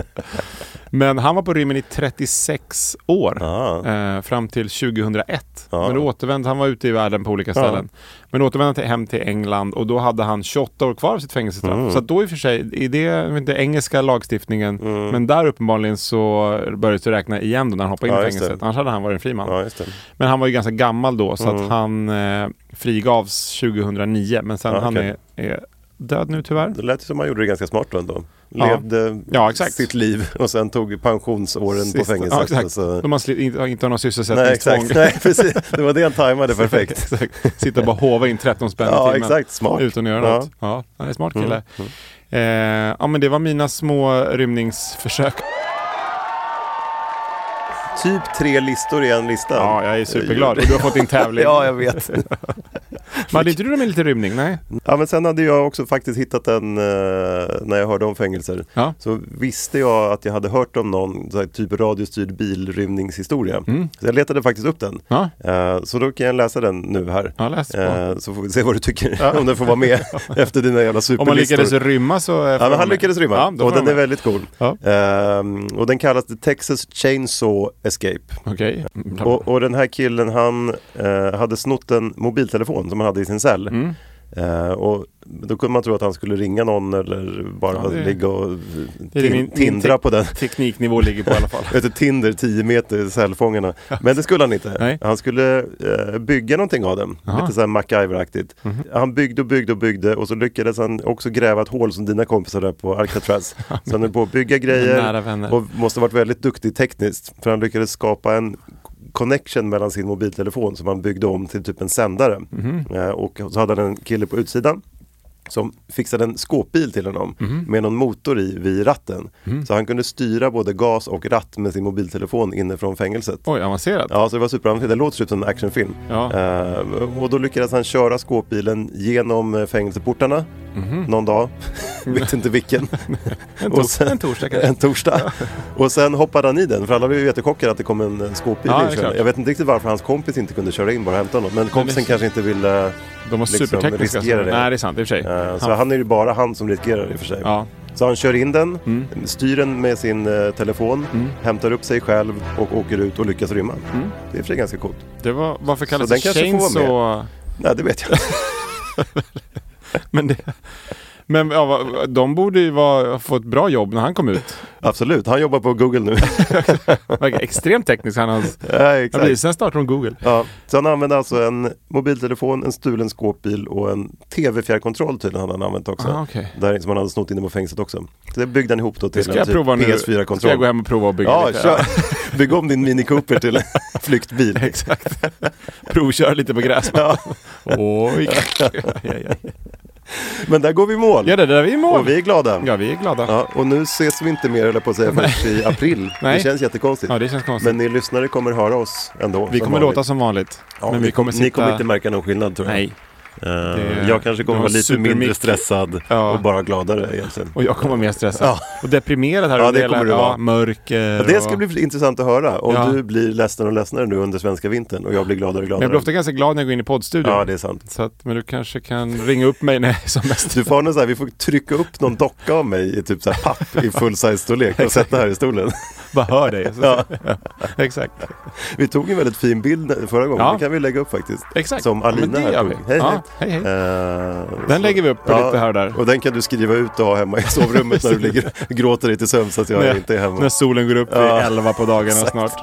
Men han var på rymmen i 36 år.
Ja.
Eh, fram till 2001. Men då återvände han, var ute i världen på olika ställen. Men återvände han till, hem till England och då hade han 28 år kvar av sitt fängelsestraff.
Mm.
Så att då i och för sig, i det, jag vet inte engelska lagstiftningen,
Mm.
men där uppenbarligen så började det räkna igen då när han hoppade in
Ja,
i
just det.
fängelset. Annars hade han varit en fri man.
ja, just det.
Men han var ju ganska gammal då så
Mm.
att han eh, frigavs 2009 men sen
Ja,
han
okej.
är, är död nu tyvärr.
Det lät ju som man gjorde det ganska smart då ändå.
Ja.
levde
Ja, exakt.
sitt liv och sen tog pensionsåren på
Sist-
fängelset.
Ja, exakt.
Så-
De har sli- inte, inte har någon
Nej,
sysselsättningstvång.
exakt. Nej, precis. Det var det han tajmade perfekt.
Exakt. Sitta och bara hova in 13 spänn
Ja,
i timmen.
exakt. Smart.
Utan att göra
Ja. Mm.
något. Ja, han är smart kille. Eh, ja, men det var mina små rymningsförsök.
Typ tre listor i en lista.
Ja, jag är superglad. Och du har fått din tävling.
Ja, jag vet.
Men hade inte du det med lite rymning? Nej.
Ja, men sen hade jag också faktiskt hittat en, eh, när jag hörde om fängelser,
Ja.
så visste jag att jag hade hört om någon så här, typ radiostyrd bilrymningshistoria. Så jag letade faktiskt upp den.
Mm. Ja.
Eh, så då kan jag läsa den nu här.
Ja, läs på.
Eh, så får vi se vad du tycker, om den får vara med efter dina jävla superlistor.
Om man lyckades rymma så... eh, får
Ja, men
man
han
med.
lyckades rymma
Ja, då
och
får
den
man
är
med.
väldigt cool.
Ja.
Ehm, och den kallas The Texas Chainsaw Escape.
Okej. Mm. Bra.
Och, och den här killen han eh, hade snott en mobiltelefon som han hade i sin cell.
Mm.
Eh, och då kunde man tro att han skulle ringa någon eller bara
Ja, det-
ligga och
Det är
tin-
min- min
tindra
tek-
på den.
Tekniknivå ligger på i alla fall.
Vet du, Tinder 10 meter i cellfångarna. Men det skulle han inte.
Nej.
Han skulle eh, bygga någonting av den.
Jaha.
Lite så här MacGyver-aktigt.
Mhm.
Han byggde och byggde och byggde och så lyckades han också gräva ett hål som dina kompisar där på Alcatraz. så han höll på att bygga
Nära
grejer
vänner.
och måste ha varit väldigt duktig tekniskt. För han lyckades skapa en connection mellan sin mobiltelefon som han byggde om till typ en sändare.
Mhm.
Eh, och så hade han en kille på utsidan som fixade en skåpbil till honom
Mhm.
med någon motor i vid ratten. Så han kunde styra både gas och ratt med sin mobiltelefon inifrån fängelset.
Oj, avancerat.
Ja, så det var superavancerat. Det låter typ som en actionfilm.
Ja.
Eh, och då lyckades han köra skåpbilen genom eh, fängelseportarna någon dag. Vet inte vilken.
Mhm. En,
Och
tor-
sen-
en torsdag kanske.
en torsdag. Och sen hoppade han i den, för alla blev ju jättechockade att det kom en, en skåpbil
Ja, det är
inkörande.
klart.
Jag vet inte riktigt varför hans kompis inte kunde köra in bara och hämta honom. Men kompisen
det-
kanske inte ville...
De var
liksom
supertekniska.
riskera det.
Nej, det är sant. I och för sig.
eh, så
Han-
han är ju bara han som riskerar det i och för sig.
Ja. Mm.
Så han kör in den, styr den med sin eh, telefon, hämtar upp sig själv och åker ut och lyckas rymma.
Mm.
Det är i och för sig ganska coolt.
Det var, varför kallas
Så den
det
kanske får vara
chainsaw?
Nej, det vet jag inte.
Men, det, men ja, va- de borde ju vara, få ett bra jobb när han kom ut.
Absolut, han jobbar på Google nu.
Verkar extremt teknisk. Han, hans,
ja,
jag blir,
exakt.
sen startar de Google.
Ja. Så han använde alltså en mobiltelefon, en stulen skåpbil och en tv-fjärrkontroll tydligen hade han använt också.
Ah, okej.
Där som han hade snott inne på fängelset också. Så det byggde han ihop då till
Det ska jag prova nu. Ska jag gå
PS4-kontroll.
hem och prova och bygga
Ja,
lite.
kör. Bygg om din Mini Cooper till en flyktbil.
Exakt. Provkör lite på gräsmattan. Oj. Ja, ja, ja.
Men där går vi i mål.
ja, det där är vi i mål.
Och vi är glada.
Ja, vi är glada.
Ja, och nu ses vi inte mer, eller på att säga, först i april.
Nej.
Det känns jättekonstigt.
Ja, det känns konstigt.
Men ni lyssnare kommer höra oss ändå.
vi
som
kommer
vanligt.
låta som vanligt.
Ja,
men vi kommer sitta...
Ni kommer inte märka någon skillnad tror jag.
Nej.
Eh,
Det-
jag kanske kommer
du har
vara lite
supermick.
mindre stressad
Ja.
och bara gladare egentligen.
Och jag kommer vara mer stressad.
Ja.
Och deprimerad här
Ja,
under
det
hela-
kommer du vara.
ja, mörker.
Ja, det ska
och-
bli intressant att höra om
Ja.
du blir ledsnare och ledsnare nu under svenska vintern och jag blir gladare och
Men
gladare.
jag blir ofta ganska glad när jag går in i poddstudion.
Ja, det är sant.
Så att, men du kanske kan ringa upp mig när jag är som mest.
Du får ha någon så här, vi får trycka upp någon docka av mig i typ så här papp i full size-storlek och sätta här i stolen.
Bara hör dig. Så,
Ja.
Exakt.
Vi tog en väldigt fin bild förra gången,
Ja.
den kan vi lägga upp faktiskt.
Exakt.
Som
Ja, men
Alina
det
här
gör
tog.
vi.
Hej,
Ja,
hej.
hej, hej.
Eh,
Den
så-
lägger vi upp lite här och där.
Och den kan du skriva ut och ha hemma i sovrummet när du ligger och gråter dig till sömns att jag
när,
inte är hemma.
när solen går upp vid
Ja.
11 på dagarna snart.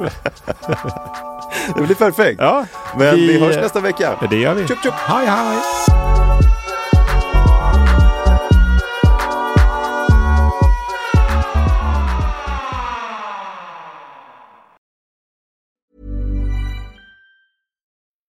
Det blir perfekt.
Ja,
Men vi hörs nästa vecka.
Ja, det gör vi.
Tjup, tjup.
Hej, hej.